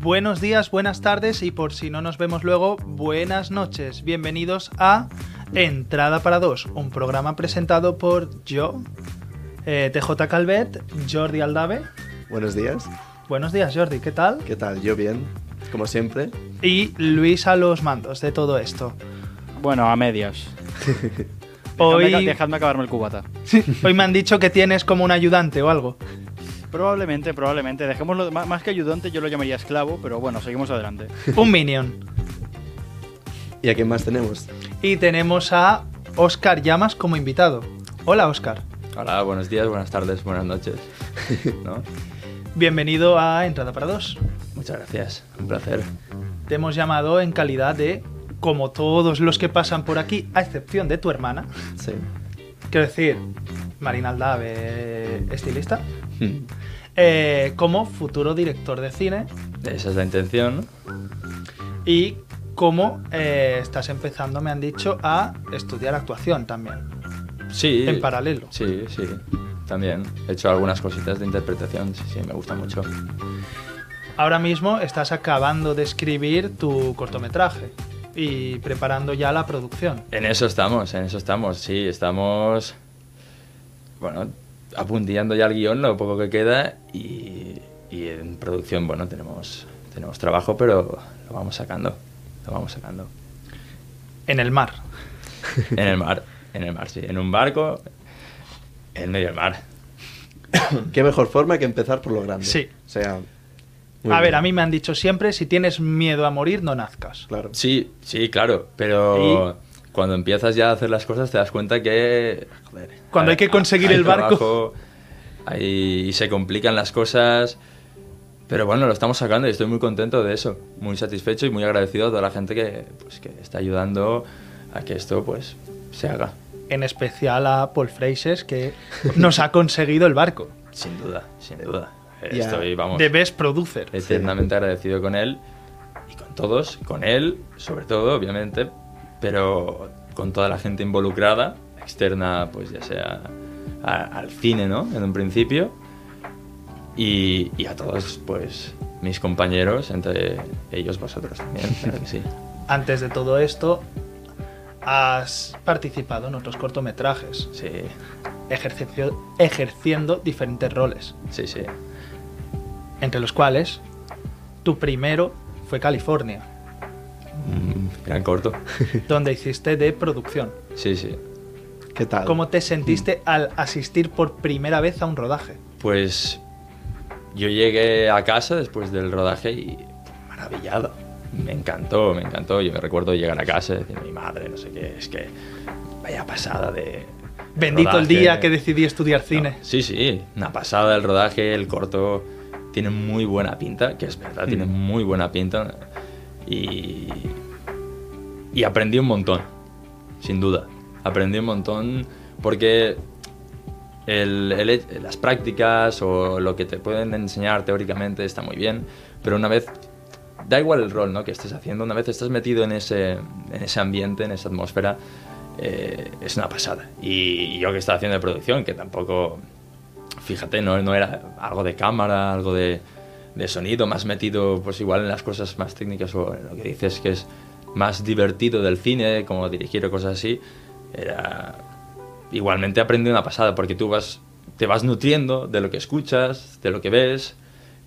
Buenos días, buenas tardes y por si no nos vemos luego, buenas noches. Bienvenidos a Entrada para dos, un programa presentado por yo, eh, TJ Calvet, Jordi Aldave. Buenos días. Buenos días Jordi, ¿qué tal? ¿Qué tal? Yo bien, como siempre. Y Luis a los mandos de todo esto. Bueno, a medias. Dejadme, Hoy, dejadme acabarme el cubata. hoy me han dicho que tienes como un ayudante o algo. Probablemente, probablemente. Dejémoslo má- más que ayudante, yo lo llamaría esclavo, pero bueno, seguimos adelante. Un minion. ¿Y a quién más tenemos? Y tenemos a Oscar Llamas como invitado. Hola Oscar, Hola, buenos días, buenas tardes, buenas noches. ¿No? bienvenido a Entrada para dos. Muchas gracias, un placer. Te hemos llamado en calidad de, como todos los que pasan por aquí, a excepción de tu hermana. Sí. Quiero decir, Marina Aldave, estilista, Hmm. eh, como futuro director de cine Esa es la intención. y como eh, estás empezando, me han dicho, a estudiar actuación también, Sí. en paralelo. Sí, sí, también. He hecho algunas cositas de interpretación, sí, sí, me gusta mucho. Ahora mismo estás acabando de escribir tu cortometraje y preparando ya la producción. En eso estamos, en eso estamos, sí, estamos. Bueno, apuntillando ya el guión, lo poco que queda, y, y en producción, bueno, tenemos, tenemos trabajo, pero lo vamos sacando, lo vamos sacando. En el mar. En el mar, en el mar, sí, en un barco, en medio del mar. ¿Qué mejor forma que empezar por lo grande? Sí. O sea... a ver, a mí me han dicho siempre, si tienes miedo a morir, no nazcas. Claro. Sí, sí, claro, pero cuando empiezas ya a hacer las cosas te das cuenta que... joder, Cuando hay que conseguir el barco. trabajo, hay- y se complican las cosas. Pero bueno, lo estamos sacando y estoy muy contento de eso. Muy satisfecho y muy agradecido a toda la gente que, pues, que está ayudando a que esto pues se haga. En especial a Paul Freixes, que nos ha conseguido el barco. Sin duda, sin duda. Ya. Estoy, vamos, Eh. The Best Producer. eternamente agradecido con él y con todos, con él sobre todo, obviamente, pero con toda la gente involucrada, externa, pues ya sea a- al cine, ¿no? En un principio, y, y a todos, pues, mis compañeros, entre ellos vosotros también, claro que sí. Antes de todo esto, has participado en otros cortometrajes, Sí, ejercicio- ejerciendo diferentes roles, sí, sí. entre los cuales tu primero fue California, Mm, gran corto. donde hiciste de producción. Sí, sí. ¿Qué tal? ¿Cómo te sentiste al asistir por primera vez a un rodaje? Pues yo llegué a casa después del rodaje y maravillado. Me encantó, me encantó. Yo me recuerdo llegar a casa y decir, mi madre, no sé qué, es que vaya pasada de... Bendito el rodaje". día que decidí estudiar No, cine. sí, sí, una pasada el rodaje, el corto tiene muy buena pinta, que es verdad, tiene muy buena pinta. Y, y aprendí un montón, sin duda. Aprendí un montón porque el- el he- las prácticas o lo que te pueden enseñar teóricamente está muy bien, pero una vez, da igual el rol ¿no? que estés haciendo, una vez estás metido en ese, en ese ambiente, en esa atmósfera, eh, es una pasada. Y yo que estaba haciendo de producción, que tampoco, fíjate, no, no era algo de cámara, algo de, de sonido, más metido pues igual en las cosas más técnicas o en lo que dices que es más divertido del cine, como dirigir o cosas así, era igualmente aprendí una pasada porque tú vas te vas nutriendo de lo que escuchas de lo que ves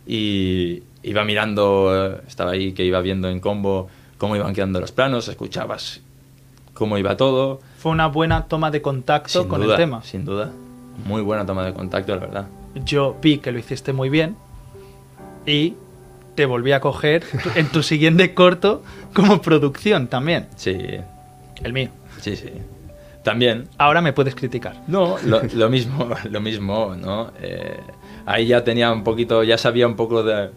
y iba mirando eh, estaba ahí que iba viendo en combo cómo iban quedando los planos escuchabas cómo iba todo Fue una buena toma de contacto sin con duda el tema. sin duda muy buena toma de contacto la verdad yo vi que lo hiciste muy bien y te volví a coger en tu siguiente corto como producción también, sí el mío. sí sí También. Ahora me puedes criticar. No, lo, lo mismo, lo mismo, ¿no? Eh, ahí ya tenía un poquito, ya sabía un poco de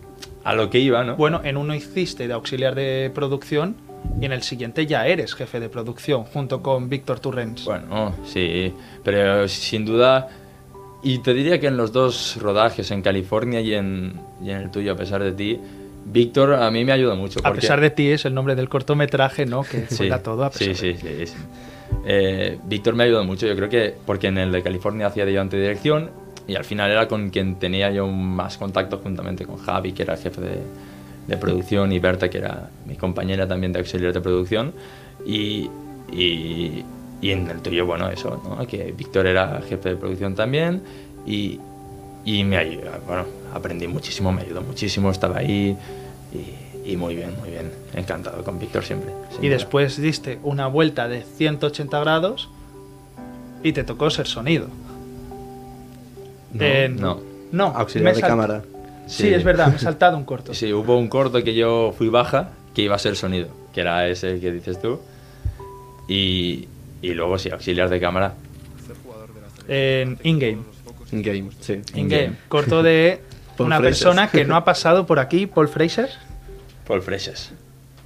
a lo que iba, ¿no? Bueno, en uno hiciste de auxiliar de producción y en el siguiente ya eres jefe de producción junto con Víctor Turrens. Bueno, sí, pero sin duda, y te diría que en los dos rodajes, en California y en, y en el tuyo, a pesar de ti, Víctor a mí me ayuda mucho. a porque- pesar de ti es el nombre del cortometraje, ¿no? Que Sí, cuenta todo a pesar sí, de sí, sí, sí. Eh, Víctor me ayudó mucho, yo creo que porque en el de California hacía de ayudante de dirección y al final era con quien tenía yo más contacto juntamente con Javi, que era el jefe de, de producción, y Berta, que era mi compañera también de auxiliar de producción. Y, y, y en el tuyo, bueno, eso, ¿no? que Víctor era jefe de producción también y, y me ayudó, bueno, aprendí muchísimo, me ayudó muchísimo, estaba ahí y, y muy bien, muy bien, encantado con Víctor siempre. sin Y duda. después diste una vuelta de 180 grados y te tocó ser sonido. No, En- no. No, Auxiliar me de salt- cámara. Sí, Sí. es verdad, me he saltado un corto. Sí, hubo un corto que yo fui baja, que iba a ser sonido, que era ese que dices tú. Y, y luego sí, auxiliar de cámara. En in-game. In-game, sí. In-game. Corto de Paul una Fraser. persona que no ha pasado por aquí, Paul Fraser. Paul Freixas.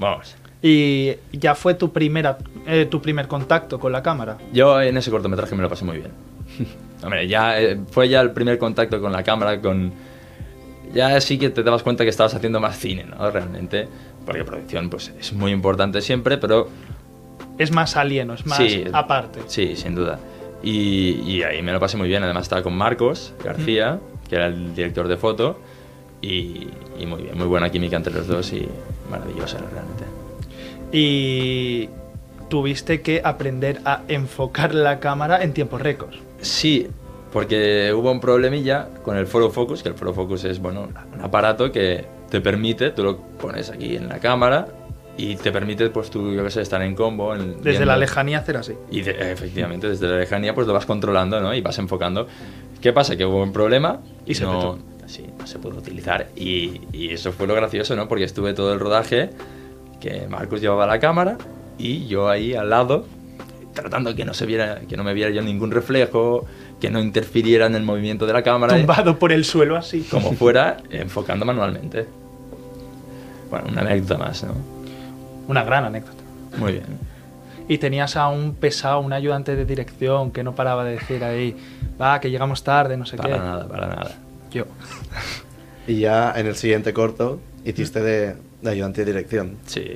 Vamos. Y ya fue tu, primera, eh, tu primer contacto con la cámara. Yo en ese cortometraje me lo pasé muy bien. Hombre, ya eh, fue ya el primer contacto con la cámara, con... Ya sí que te dabas cuenta que estabas haciendo más cine, ¿no? Realmente, porque producción pues es muy importante siempre, pero Es más alieno, es más Sí. aparte. Sí, sin duda. Y, y ahí me lo pasé muy bien. Además estaba con Marcos García, que era el director de foto. Y, y muy bien, muy buena química entre los dos y maravillosa realmente. Y tuviste que aprender a enfocar la cámara en tiempos récords. Sí, porque hubo un problemilla con el Foro Focus, que el Foro Focus es bueno, un aparato que te permite, tú lo pones aquí en la cámara y te permite, pues tú, yo qué sé, estar en combo. en- Desde viendo- la lejanía hacer así. Y de- efectivamente, desde la lejanía, pues lo vas controlando, ¿no? Y vas enfocando. ¿Qué pasa? Que hubo un problema Y se no, petó. sí, no se pudo utilizar. Y, y eso fue lo gracioso, ¿no? Porque estuve todo el rodaje que Marcos llevaba la cámara y yo ahí al lado tratando que no se viera que no me viera yo ningún reflejo que no interfiriera en el movimiento de la cámara Tumbado por el suelo así. como fuera enfocando manualmente bueno una anécdota más no Una gran anécdota. muy bien Y tenías a un pesado, un ayudante de dirección que no paraba de decir ahí, va, que llegamos tarde, no sé para qué. nada para nada Yo. Y ya en el siguiente corto hiciste de, de ayudante de dirección. sí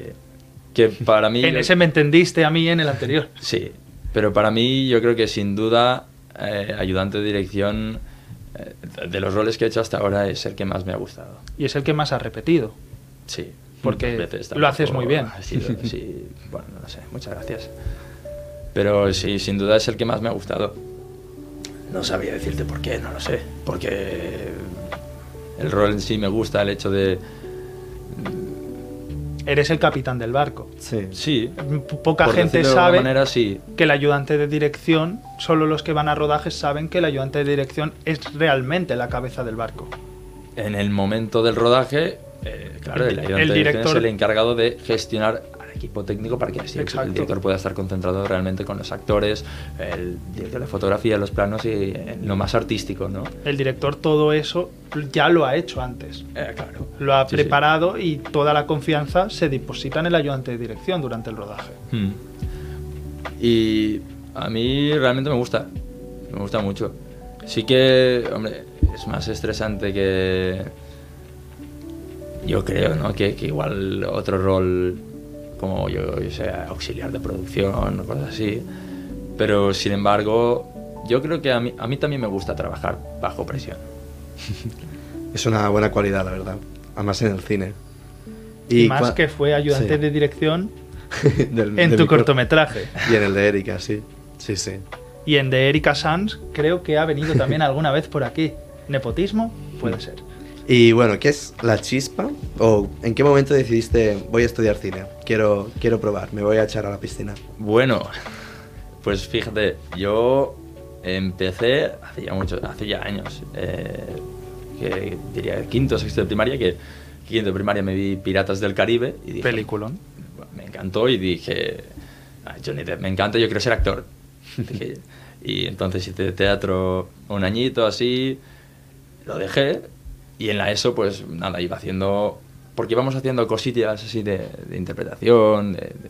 que para mí En yo- ese me entendiste a mí en el anterior. Sí, pero para mí yo creo que sin duda eh, ayudante de dirección eh, de los roles que he hecho hasta ahora es el que más me ha gustado. Y es el que más has repetido. Sí. Porque muchas veces lo haces tampoco muy bien. ha sido- sí, bueno, no sé, muchas gracias. Pero sí, sin duda es el que más me ha gustado. No sabría decirte por qué, no lo sé. Porque el rol en sí me gusta, el hecho de... Eres el capitán del barco. Sí. Sí. P- Poca por gente decirlo de sabe alguna manera, sí. que el ayudante de dirección, solo los que van a rodajes saben que el ayudante de dirección es realmente la cabeza del barco. en el momento del rodaje, eh, claro, el, El ayudante de dirección director- es el encargado de gestionar al equipo técnico para que así Exacto. el director pueda estar concentrado realmente con los actores, el director de fotografía, los planos y eh, lo más artístico, ¿no? El director todo eso ya lo ha hecho antes. Eh, claro. Lo ha Sí, sí. preparado y toda la confianza se deposita en el ayudante de dirección durante el rodaje. Mm. Y a mí realmente me gusta, me gusta mucho. Sí que, hombre, es más estresante que... Yo creo, ¿no? Que, que igual otro rol como yo, yo sé, auxiliar de producción o cosas así. Pero sin embargo, yo creo que a mí, a mí también me gusta trabajar bajo presión. Es una buena cualidad, la verdad. Además en el cine. Y, más cua- que fue ayudante Sí. de dirección Del- en de tu mi cor- cortometraje. Y en el de Erika, sí. Sí, sí. Y en de Erika Sanz creo que ha venido también alguna vez por aquí. ¿Nepotismo? Puede ser. Y bueno, ¿qué es la chispa? ¿O en qué momento decidiste voy a estudiar cine? Quiero, quiero probar, me voy a echar a la piscina. Bueno, pues fíjate, yo empecé hace ya, mucho, hace ya años, eh, que diría quinto, sexto de primaria, que quinto de primaria me vi Piratas del Caribe y dije, Peliculón. me encantó y dije, "Ah, Johnny Depp, me encanta, yo quiero ser actor. Dije, y entonces hice teatro un añito así, lo dejé y en la ESO pues nada, iba haciendo, porque íbamos haciendo cosillas así de, de interpretación, de, de-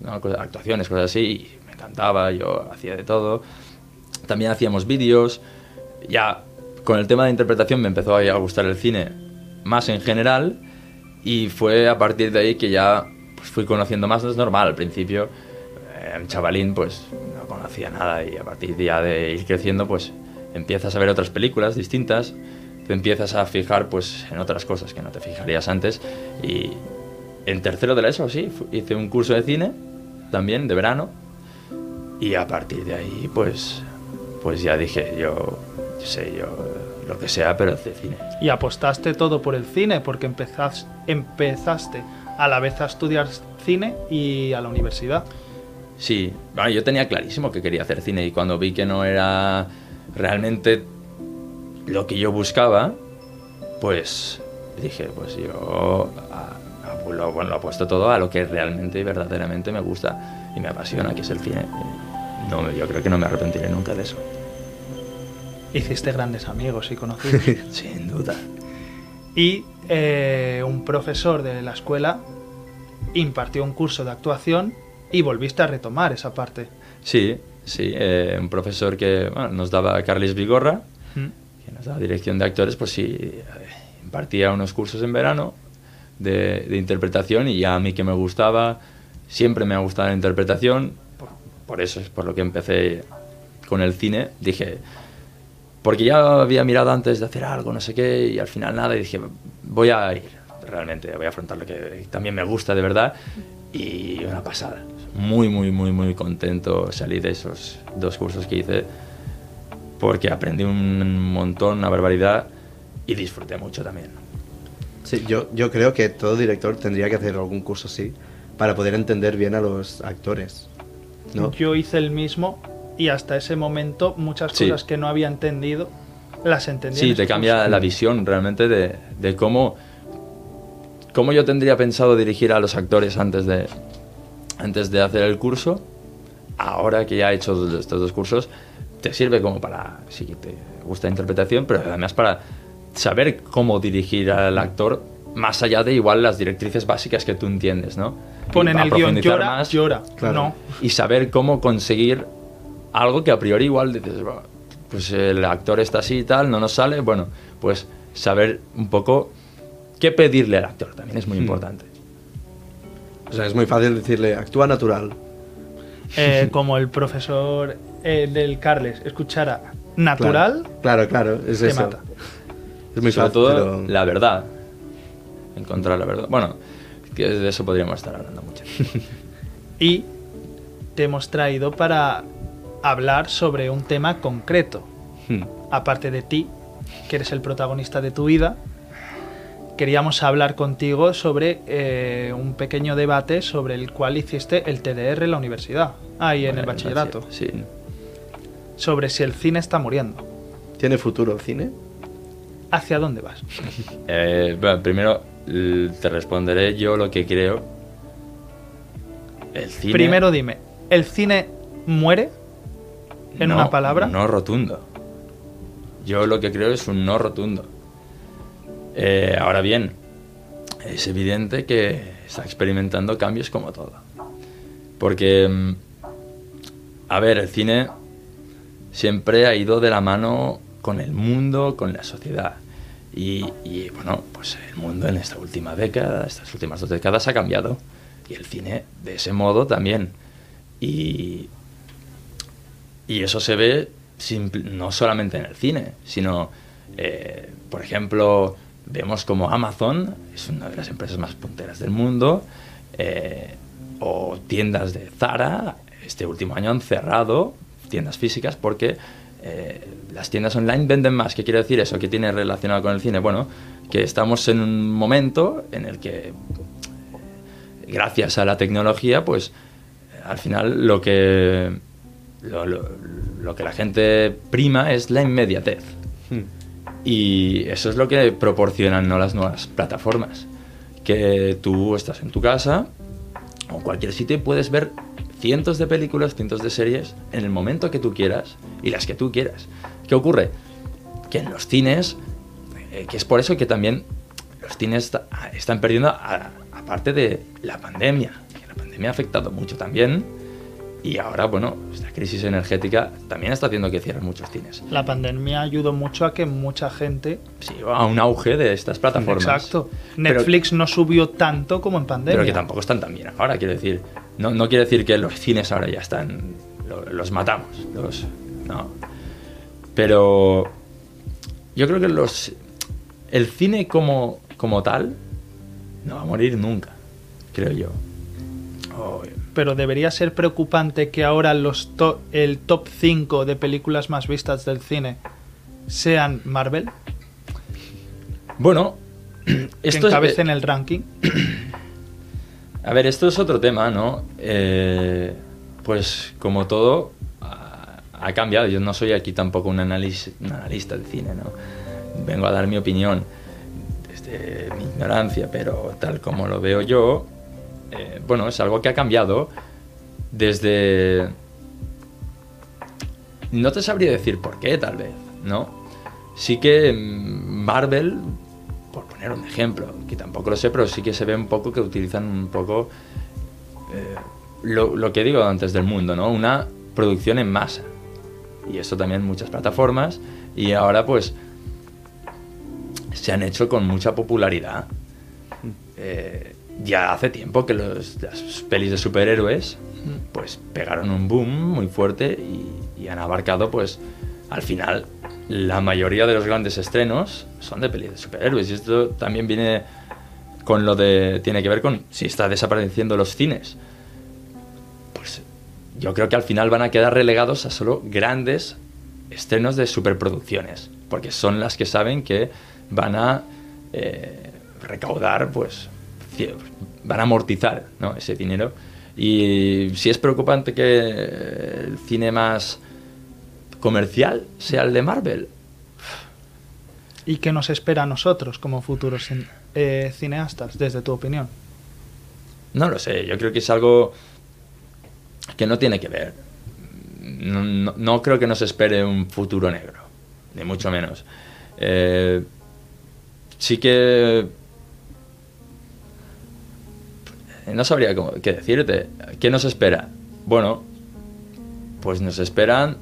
no, cosa- actuaciones, cosas así, y me encantaba, yo hacía de todo. También hacíamos vídeos, ya con el tema de interpretación me empezó a gustar el cine más en general y fue a partir de ahí que ya pues, fui conociendo más, es normal, al principio eh, un chavalín pues no conocía nada y a partir ya de ir creciendo pues empiezas a ver otras películas distintas, te empiezas a fijar pues en otras cosas que no te fijarías antes y en tercero de la ESO sí, fu- hice un curso de cine también de verano y a partir de ahí pues pues ya dije yo, yo sé yo lo que sea pero de cine. Y apostaste todo por el cine, porque empezas- empezaste a la vez a estudiar cine y a la universidad. Sí, bueno, yo tenía clarísimo que quería hacer cine y cuando vi que no era realmente lo que yo buscaba, pues dije, pues yo a- a- lo, bueno, lo apuesto todo a lo que realmente y verdaderamente me gusta y me apasiona, que es el cine. No, yo creo que no me arrepentiré nunca de eso. Hiciste grandes amigos y conocidos. Sin duda. y eh, un profesor de la escuela impartió un curso de actuación y volviste a retomar esa parte. Sí, sí, eh, un profesor que bueno, nos daba Carles Vigorra, Mm. que nos daba dirección de actores, pues sí, eh, impartía unos cursos en verano de, de interpretación y ya a mí que me gustaba, siempre me ha gustado la interpretación, por, por eso es por lo que empecé con el cine, dije, porque ya había mirado antes de hacer algo, no sé qué, y al final nada, y dije, voy a ir, realmente, voy a afrontar lo que también me gusta de verdad, y una pasada. Muy, muy, muy, muy contento salí de esos dos cursos que hice, porque aprendí un montón, una barbaridad, y disfruté mucho también. Sí, yo, yo creo que todo director tendría que hacer algún curso así para poder entender bien a los actores. ¿no? Yo hice el mismo y hasta ese momento muchas Sí. cosas que no había entendido las entendí. en Sí, ese te cambia curso. la visión realmente de, de cómo, cómo yo tendría pensado dirigir a los actores antes de, antes de hacer el curso. Ahora que ya he hecho dos- estos dos cursos, te sirve como para, si te gusta la interpretación, pero además para saber cómo dirigir al actor más allá de igual las directrices básicas que tú entiendes, ¿no? Mm. Ponen Y a el guión, profundizar llora, más llora. Claro. No. y saber cómo conseguir algo que a priori igual dices, "Buah, pues el actor está así y tal, no nos sale. Bueno, pues saber un poco qué pedirle al actor también es muy Hmm. importante. O sea, es muy fácil decirle, actúa natural. Eh, como el profesor eh, del Carles escuchara Claro. natural, Claro, claro, es te eso. mata. Es muy Sobre fácil. todo pero- la verdad. Encontrar la verdad. Bueno, que de eso podríamos estar hablando mucho. Y te hemos traído para hablar sobre un tema concreto. Hmm. Aparte de ti, que eres el protagonista de tu vida, queríamos hablar contigo sobre eh, un pequeño debate sobre el cual hiciste el TDR en la universidad, ahí en el bachillerato, Sí. sobre si el cine está muriendo. ¿Tiene futuro el cine? ¿Hacia dónde vas? Eh, bueno, primero l- te responderé yo lo que creo. El cine. Primero dime, ¿el cine muere? en No, una palabra. No rotundo. Yo lo que creo es un no rotundo. Eh, ahora bien, es evidente que está experimentando cambios como todo. Porque, mm, a ver, el cine siempre ha ido de la mano con el mundo, con la sociedad. Y, y, bueno, pues el mundo en esta última década, estas últimas dos décadas ha cambiado. Y el cine de ese modo también. Y, y eso se ve simple- no solamente en el cine, sino, eh, por ejemplo, vemos como Amazon es una de las empresas más punteras del mundo, eh, o tiendas de Zara, este último año han cerrado tiendas físicas porque eh, las tiendas online venden más. ¿Qué quiere decir eso? ¿Qué tiene relacionado con el cine? Bueno, que estamos en un momento en el que gracias a la tecnología, pues al final lo que lo, lo- lo que la gente prima es la inmediatez. Hmm. Y eso es lo que proporcionan ¿no? las nuevas plataformas. Que tú estás en tu casa, o cualquier sitio y puedes ver cientos de películas, cientos de series en el momento que tú quieras y las que tú quieras. ¿Qué ocurre? Que en los cines, eh, que es por eso que también los cines ta- están perdiendo, a- aparte de la pandemia, que la pandemia ha afectado mucho también, y ahora, bueno, esta crisis energética también está haciendo que cierren muchos cines. La pandemia ayudó mucho a que mucha gente. Sí, a un auge de estas plataformas. Exacto. Pero- Netflix no subió tanto como en pandemia. Pero que tampoco están tan bien ahora, quiero decir. No, no quiere decir que los cines ahora ya están. lo- los matamos. Los, no. Pero. Yo creo que los. El cine como, como tal. No va a morir nunca, creo yo. O- Pero debería ser preocupante que ahora los to- el top 5 de películas más vistas del cine sean Marvel, bueno. que Esto es, encabecen el ranking. A ver, esto es otro tema, ¿no? Eh, pues como todo ha, ha cambiado. Yo no soy aquí tampoco un, analis- un analista de cine, ¿no? Vengo a dar mi opinión desde mi ignorancia, pero tal como lo veo yo, eh, bueno, es algo que ha cambiado desde... No te sabría decir por qué, tal vez, ¿no? Sí que mm, Marvel, por poner un ejemplo, que tampoco lo sé, pero sí que se ve un poco que utilizan un poco eh, lo, lo que digo antes del mundo, ¿no? Una producción en masa. Y eso también muchas plataformas. Y ahora pues se han hecho con mucha popularidad. Eh, ya hace tiempo que los- las pelis de superhéroes pues pegaron un boom muy fuerte y, y han abarcado pues al final la mayoría de los grandes estrenos son de pelis de superhéroes y esto también viene con lo de tiene que ver con si está desapareciendo los cines pues yo creo que al final van a quedar relegados a solo grandes estrenos de superproducciones, porque son las que saben que van a eh, recaudar, pues cie- van a amortizar ¿no? ese dinero. Y si es preocupante que eh, el cine más comercial sea el de Marvel, ¿Y qué nos espera a nosotros como futuros cin- eh, cineastas, desde tu opinión? No lo sé, yo creo que es algo que no tiene que ver. No, no- no creo que nos espere un futuro negro, ni mucho menos. Eh, sí que... eh, No sabría cómo, qué decirte. ¿Qué nos espera? Bueno, pues nos esperan,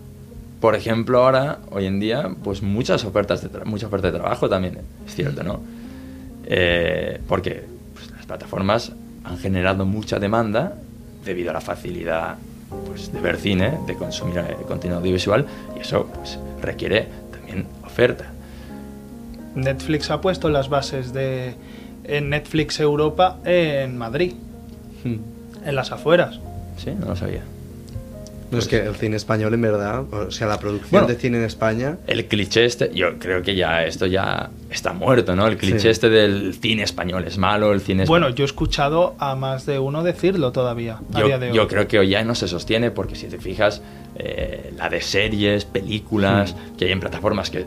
por ejemplo, ahora, hoy en día, pues muchas ofertas de, tra- mucha oferta de trabajo también, es cierto, ¿no? Eh, porque pues, las plataformas han generado mucha demanda debido a la facilidad pues, de ver cine, de consumir eh, contenido audiovisual, y eso pues, requiere también oferta. Netflix ha puesto las bases de en Netflix Europa en Madrid, Hmm. en las afueras. ¿Sí? No lo sabía. No, Pues es que el cine español, en verdad, o sea, la producción Bueno. de cine en España, El cliché este, yo creo que ya esto ya está muerto, ¿no? El cliché Sí. este del cine español es malo, el cine Bueno, yo he escuchado a más de uno decirlo todavía a Yo, día de hoy. yo creo que hoy ya no se sostiene porque si te fijas, eh, la de series, películas que hay en plataformas que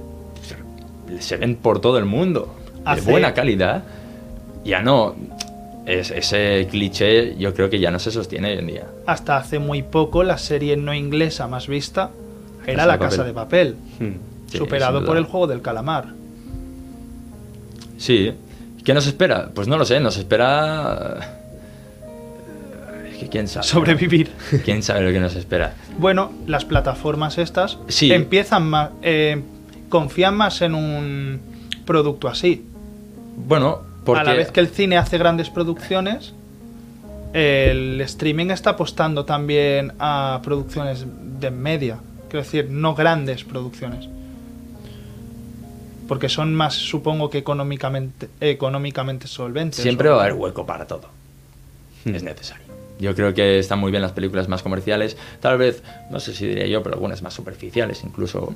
se- se ven por todo el mundo, Hace- de buena calidad, ya no. es- ese cliché yo creo que ya no se sostiene hoy en día. Hasta hace muy poco la serie no inglesa más vista era Casa La de Casa Papel. de Papel, Hmm. Sí, superado sin por duda. el juego del calamar. Sí. ¿Qué nos espera? Pues no lo sé, nos espera. eh, Es que quién sabe. Sobrevivir. ¿Quién sabe lo que nos espera? Bueno, las plataformas estas Sí. empiezan más, confían más en un producto así. Bueno, porque. A la vez que el cine hace grandes producciones, el streaming está apostando también a producciones de media. Quiero decir, no grandes producciones. Porque son más, supongo que económicamente, económicamente solventes. Siempre ¿o? va a haber hueco para todo. Hmm. Es necesario. Yo creo que están muy bien las películas más comerciales. Tal vez, no sé si diría yo, pero algunas más superficiales incluso.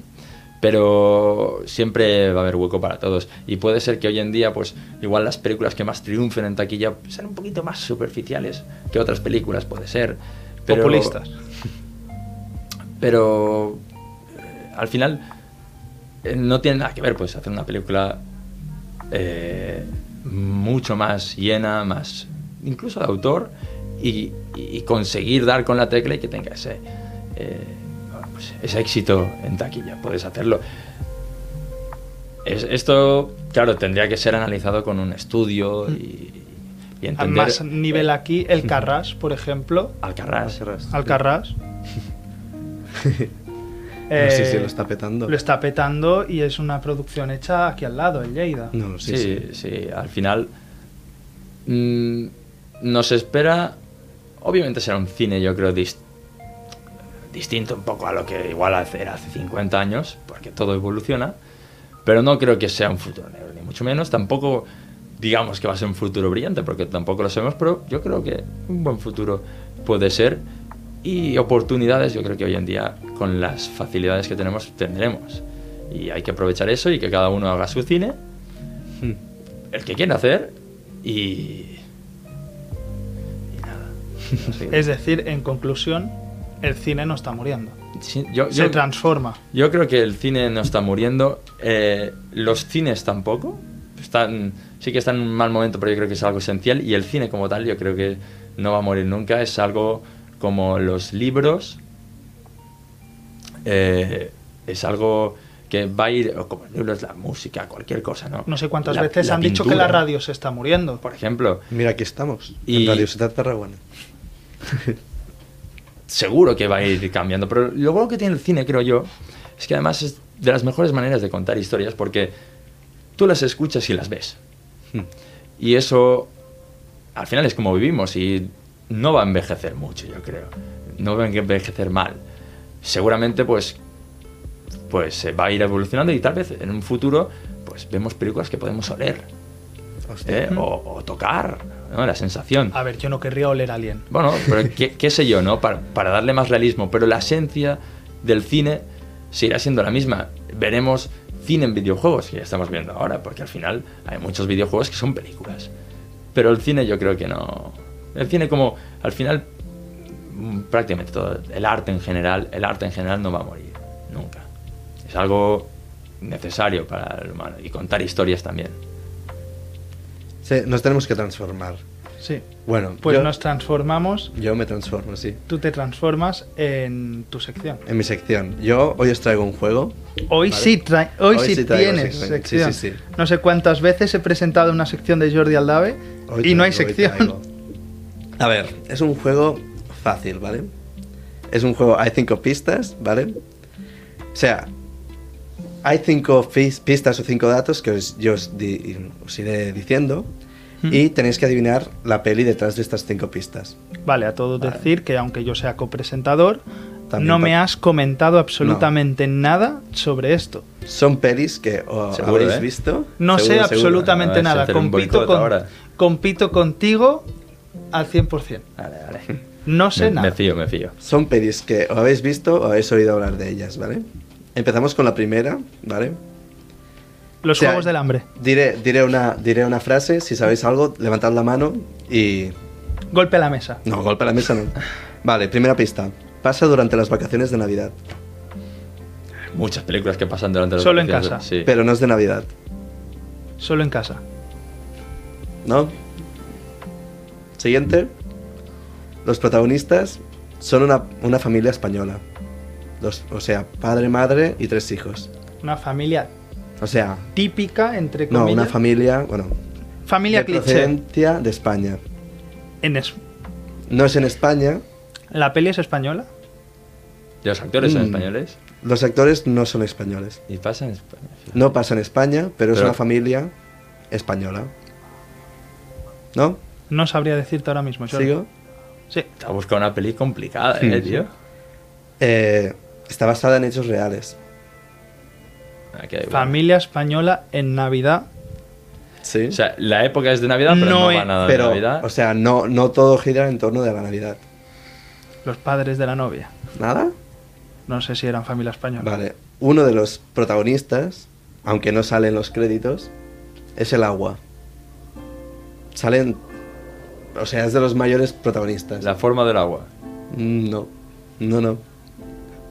Pero siempre va a haber hueco para todos. Y puede ser que hoy en día, pues, igual las películas que más triunfen en taquilla sean un poquito más superficiales que otras películas, puede ser. Pero, Populistas. Pero eh, al final eh, no tiene nada que ver, pues, hacer una película eh, mucho más llena, más incluso de autor y, y conseguir dar con la tecla y que tenga ese, eh, bueno, pues, ese éxito en taquilla. Puedes hacerlo. Es- esto, claro, tendría que ser analizado con un estudio y, y entender. Más eh, nivel aquí, el Carras, por ejemplo. Alcaraz. Alcarrás. No sé si Eh, lo está petando. Lo está petando y es una producción hecha aquí al lado, en Lleida. No, Sí, sí, sí. sí, Al final mm, nos espera. Obviamente será un cine, yo creo, dis- distinto un poco a lo que igual hace- era hace 50 años, porque todo evoluciona. Pero no creo que sea un futuro negro, ni mucho menos. Tampoco digamos que va a ser un futuro brillante, porque tampoco lo sabemos, pero yo creo que un buen futuro puede ser. Y oportunidades, yo creo que hoy en día, con las facilidades que tenemos, tendremos. Y hay que aprovechar eso y que cada uno haga su cine el que quiere hacer y. y nada. No sé. Es decir, en conclusión, el cine no está muriendo. Sí, yo, Se yo- transforma. yo creo que el cine no está muriendo. eh, los cines tampoco. Están, sí que están en un mal momento, pero yo creo que es algo esencial. Y el cine como tal, yo creo que no va a morir nunca. Es algo como los libros. eh, es algo que va a ir, o como los libros, la música, cualquier cosa, ¿no? No sé cuántas La- veces la han dicho que la pintura, radio se está muriendo. Por ejemplo, Mira, aquí estamos. Y- En Radio Ciudad Tarragona. seguro que va a ir cambiando. Pero lo bueno que tiene el cine, creo yo, es que además es de las mejores maneras de contar historias porque tú las escuchas y las ves. Y eso, al final, es como vivimos y no va a envejecer mucho, yo creo. No va a envejecer mal. Seguramente, pues, pues se va a ir evolucionando y tal vez en un futuro, pues vemos películas que podemos oler Hostia. ¿eh? oh. o, o tocar, ¿no? la sensación. A ver, yo no querría oler a alguien. Bueno, pero qué, qué sé yo, ¿no? Para, para darle más realismo, pero la esencia del cine seguirá siendo la misma. Veremos cine en videojuegos, que ya estamos viendo ahora, porque al final hay muchos videojuegos que son películas. Pero el cine yo creo que no... El cine como, al final, mm, prácticamente todo, el arte en general, el arte en general no va a morir, nunca. Es algo necesario para el humano y contar historias también. Sí, nos tenemos que transformar. Sí. Bueno, Pues yo, nos transformamos, yo me transformo, sí. tú te transformas en tu sección. En mi sección. Yo hoy os traigo un juego. Hoy Vale. sí, tra- hoy Hoy sí, sí traigo tienes sección. sección. Sí, sí, sí. No sé cuántas veces he presentado una sección de Jordi Aldave Hoy y no traigo, hay hoy traigo. sección. A ver, es un juego fácil, ¿vale? Es un juego, hay cinco pistas, ¿vale? O sea, hay cinco pis- pistas o cinco datos que os- yo os, di- os iré diciendo Hmm. y tenéis que adivinar la peli detrás de estas cinco pistas. Vale, a todo decir que aunque yo sea copresentador, También no me pa- has comentado absolutamente nada sobre esto. Son pelis que o Seguro, habréis ¿eh? visto. No sé seguro, seguro. absolutamente Ah, vais a nada. hacer un Compito, boicot con- ahora. compito contigo al 100%. Vale, vale. No sé Me- nada. me fío, me fío. Son pelis que o habéis visto o habéis oído hablar de ellas, ¿vale? Empezamos con la primera, ¿vale? Los O sea, Juegos del Hambre. Diré, diré, una, diré una frase, si sabéis algo, levantad la mano y... Golpe a la mesa. No, golpe a la mesa no. Vale, primera pista. Pasa durante las vacaciones de Navidad, Muchas películas que pasan durante las Solo en vacaciones, casa. sí. pero no es de Navidad, Solo en casa. ¿no? Siguiente. Los protagonistas son una, una familia española. Los- o sea, padre, madre y tres hijos. Una familia O sea, típica, entre no, comillas. una familia, bueno, familia de cliché. procedencia de España. En es- No es en España, ¿La peli es española? ¿Y los actores son Mm. españoles? los actores no son españoles. ¿Y pasa en España? No pasa en España, pero, es Pero- una familia española. ¿No? No sabría decirte ahora mismo. Jordi. ¿Sigo? Sí. Te ha buscado una peli complicada, Sí, ¿eh, sí. tío? Eh, está basada en hechos reales. Ah, que da igual. Familia española en Navidad. Sí. O sea, la época es de Navidad, pero No no, es- va nada pero, de Navidad. o sea, no, no todo gira en torno de la Navidad. Los padres de la novia. ¿Nada? No sé si eran familia española. Vale. Uno de los protagonistas, aunque no salen los créditos, es el agua. Salen. O sea, es de los mayores protagonistas. La forma del agua. Mm, No. No, no.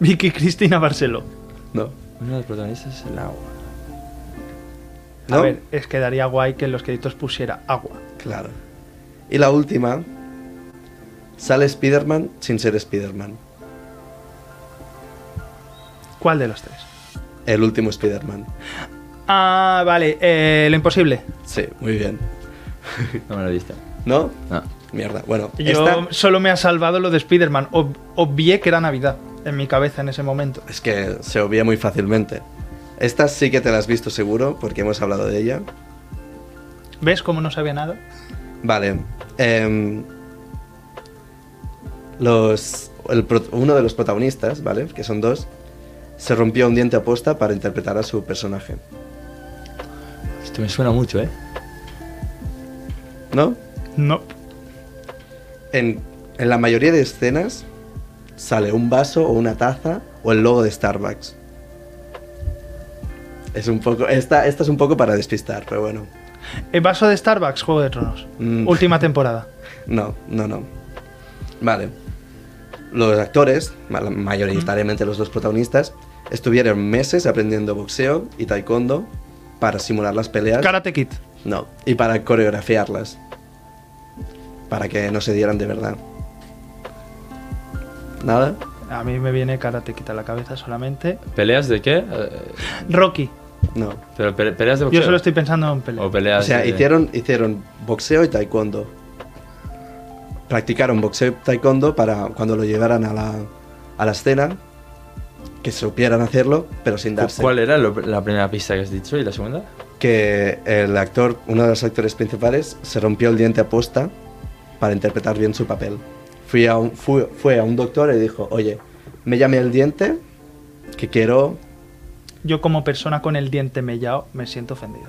Vicky Cristina Barceló. No. Uno de los protagonistas es el agua. ¿No? A ver, es que daría guay que en los créditos pusiera agua. Claro. Y la última Sale Spider-Man sin ser Spider-Man. ¿Cuál de los tres? El último Spider-Man. Ah, vale. eh, lo imposible. Sí, muy bien. No me lo diste. ¿No? No. Mierda. Bueno, Yo esta- solo me ha salvado lo de Spider-Man. Ob- obvié que era Navidad en mi cabeza en ese momento. es que se obvia muy fácilmente. Esta sí que te la has visto seguro porque hemos hablado de ella. ¿Ves cómo no sabía nada? Vale. em, los, el pro- uno de los protagonistas, ¿vale? Que son dos, se rompió un diente aposta para interpretar a su personaje. Esto me suena mucho, ¿eh? ¿No? No. En, en la mayoría de escenas sale un vaso o una taza o el logo de Starbucks. Es un poco. Esta, esta es un poco para despistar, pero bueno. El Eh, vaso de Starbucks, Juego de Tronos. Mm. Última temporada. No, no, no. Vale. Los actores, ma- mayoritariamente los dos protagonistas, estuvieron meses aprendiendo boxeo y taekwondo para simular las peleas. Karate Kid. No, y para coreografiarlas. Para que no se dieran de verdad. ¿Nada? A mí me viene Karate Kid a la cabeza solamente. ¿Peleas de qué? Eh, Rocky. No. ¿Pero pe- peleas de boxeo? Yo solo estoy pensando en ¿O peleas. peleas O sea, de- hicieron, hicieron boxeo y taekwondo. Practicaron boxeo y taekwondo para cuando lo llevaran a la, a la escena, que supieran hacerlo, pero sin darse. ¿Cuál era lo- la primera pista que has dicho y la segunda? Que el actor, uno de los actores principales, se rompió el diente aposta para interpretar bien su papel. Fui a un, fui- fue a un doctor y dijo, oye, me llamé el diente, que quiero... Yo como persona con el diente mellao me siento ofendido.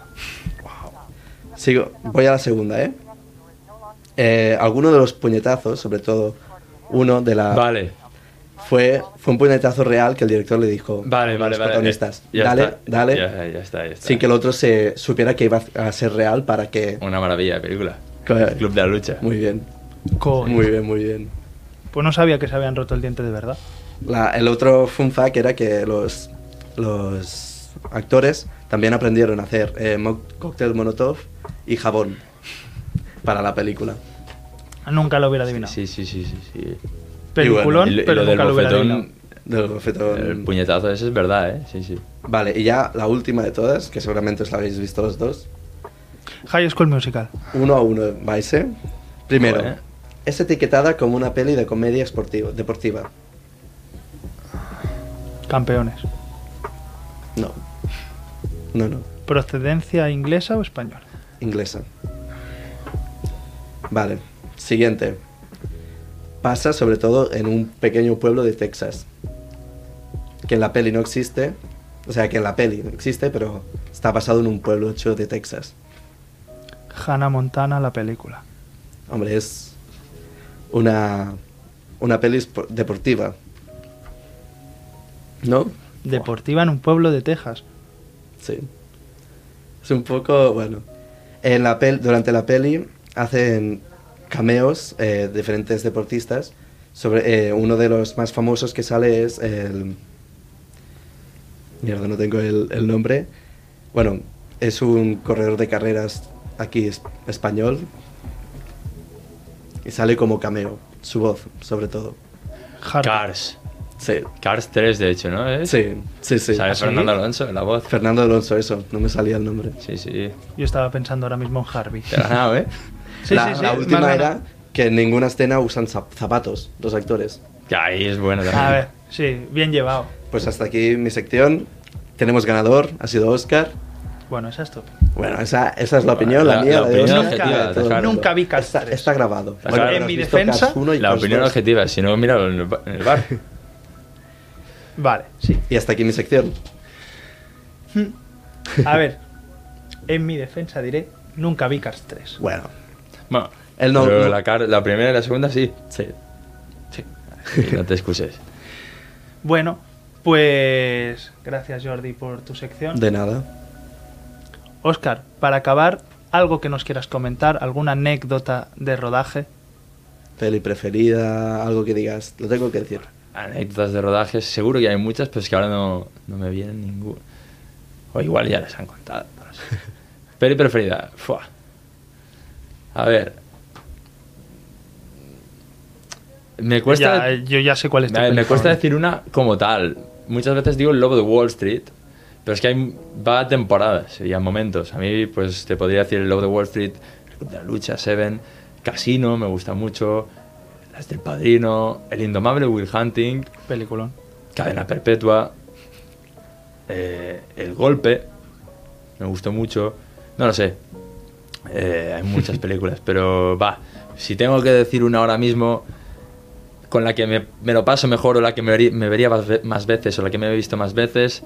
Sigo, voy a la segunda, ¿eh? Eh, alguno de los puñetazos, sobre todo uno de la... Vale, Fue, fue un puñetazo real que el director le dijo vale, a vale. los vale. protagonistas. Ya dale, está, dale. Ya, ya está, ya está. Sin que el otro se supiera que iba a ser real para que... Una maravilla de película. que- Club de la lucha. Muy bien, Coño. muy bien, muy bien. Pues no sabía que se habían roto el diente de verdad. La- el otro fun fact era que los, los actores también aprendieron a hacer eh, mo- cóctel Molotov y jabón para la película. Nunca lo hubiera adivinado. Sí, sí, sí, sí. sí. Peliculón, Y lo- y lo pero del nunca lo hubiera bofetón, adivinado. Del bofetón. El puñetazo ese es verdad, ¿eh? Sí, sí. Vale, y ya la última de todas, que seguramente os la habéis visto los dos. High School Musical. Uno a uno, vais, ¿eh? Primero, Joder. es etiquetada como una peli de comedia esportiva- deportiva. Campeones. No. No, no. ¿Procedencia inglesa o española? Inglesa. Vale. Siguiente. Pasa sobre todo en un pequeño pueblo de Texas. Que en la peli no existe. O sea, que en la peli no existe, pero está basado en un pueblo hecho de Texas. Hannah Montana, la película. Hombre, es una, una peli espo- deportiva. ¿No? Deportiva en un pueblo de Texas. Sí. Es un poco, bueno. En la pel- durante la peli hacen cameos eh, diferentes deportistas. Sobre, eh, uno de los más famosos que sale es el... Mierda, no tengo el, el nombre. Bueno, es un corredor de carreras aquí es- español. Y sale como cameo, su voz, sobre todo. Hard- Cars. Sí, Cars 3, de hecho, ¿no? ¿Es? sí, sí, sí. ¿Sabes ¿Sí? Fernando Alonso, la voz? Fernando Alonso, eso, no me salía el nombre. Sí, sí. Yo estaba pensando ahora mismo en Harvey. Te he ganado, ¿eh? Sí, la, sí, sí, la más última ganas. era que en ninguna escena usan zap- zapatos los actores. Que ahí es bueno también. A ver, sí, bien llevado. Pues hasta aquí mi sección. Tenemos ganador, ha sido Oscar. Bueno, esa es tú. Bueno, esa, esa es la Bueno, opinión, la, la- mía, la la, de opinión Oscar, objetiva, la de todo el claro. mundo. Nunca vi Cars Está, 3. está grabado. Está Bueno, claro. pero En has mi visto defensa, Cars 1 y La Cars opinión 2. objetiva, si no, míralo en el ba- en el bar. Vale, sí. Y hasta aquí mi sección. Hmm. A ver, en mi defensa diré, nunca vi Cars 3. Bueno, Bueno, Él no- pero no- La, car- la primera y la segunda sí. sí. Sí, No te excuses. Bueno, pues gracias Jordi por tu sección. De nada. Oscar, para acabar, algo que nos quieras comentar, alguna anécdota de rodaje. Peli preferida, algo que digas. Lo tengo que decir. Anécdotas de rodajes, seguro que hay muchas, pero es que ahora no, no me vienen ninguna. O igual ya les han contado. no sé. Peli preferida. Fua. A ver. Me cuesta Ya, yo ya sé cuál es tu me, me peli cuesta favorita. decir una como tal. Muchas veces digo el lobo de Wall Street, pero es que hay, va a temporadas y a momentos. A mí, pues te podría decir el lobo de Wall Street, el Club de la lucha, Seven, Casino, me gusta mucho, las del padrino, el indomable Will Hunting, Peliculón. Cadena Perpetua, eh, El Golpe, me gustó mucho, no lo sé, eh, hay muchas películas, pero va, si tengo que decir una ahora mismo con la que me, me lo paso mejor o la que me, verí- me vería más, ve- más veces o la que me he visto más veces,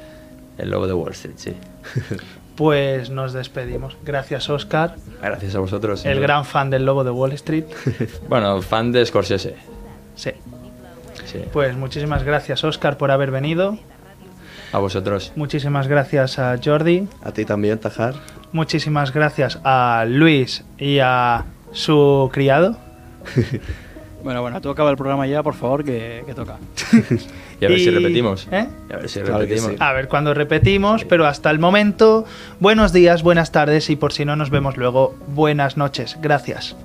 El Lobo de Wall Street, sí. Pues nos despedimos. Gracias, Oscar, Gracias a vosotros. el gran fan del Lobo de Wall Street. Bueno, fan de Scorsese, Sí. sí. Pues muchísimas gracias, Oscar, por haber venido. A vosotros. Muchísimas gracias a Jordi. A ti también, Tajar. Muchísimas gracias a Luis y a su criado. Bueno, bueno, tú acaba el programa ya, por favor, que, que toca. Y a ver si repetimos. ¿Eh? Y a ver si Claro que repetimos. sí. A ver cuando repetimos, pero hasta el momento, buenos días, buenas tardes y por si no nos vemos luego, buenas noches. Gracias.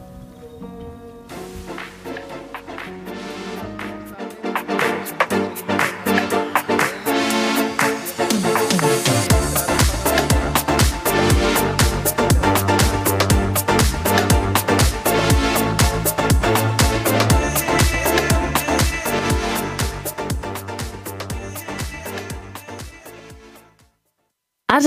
Has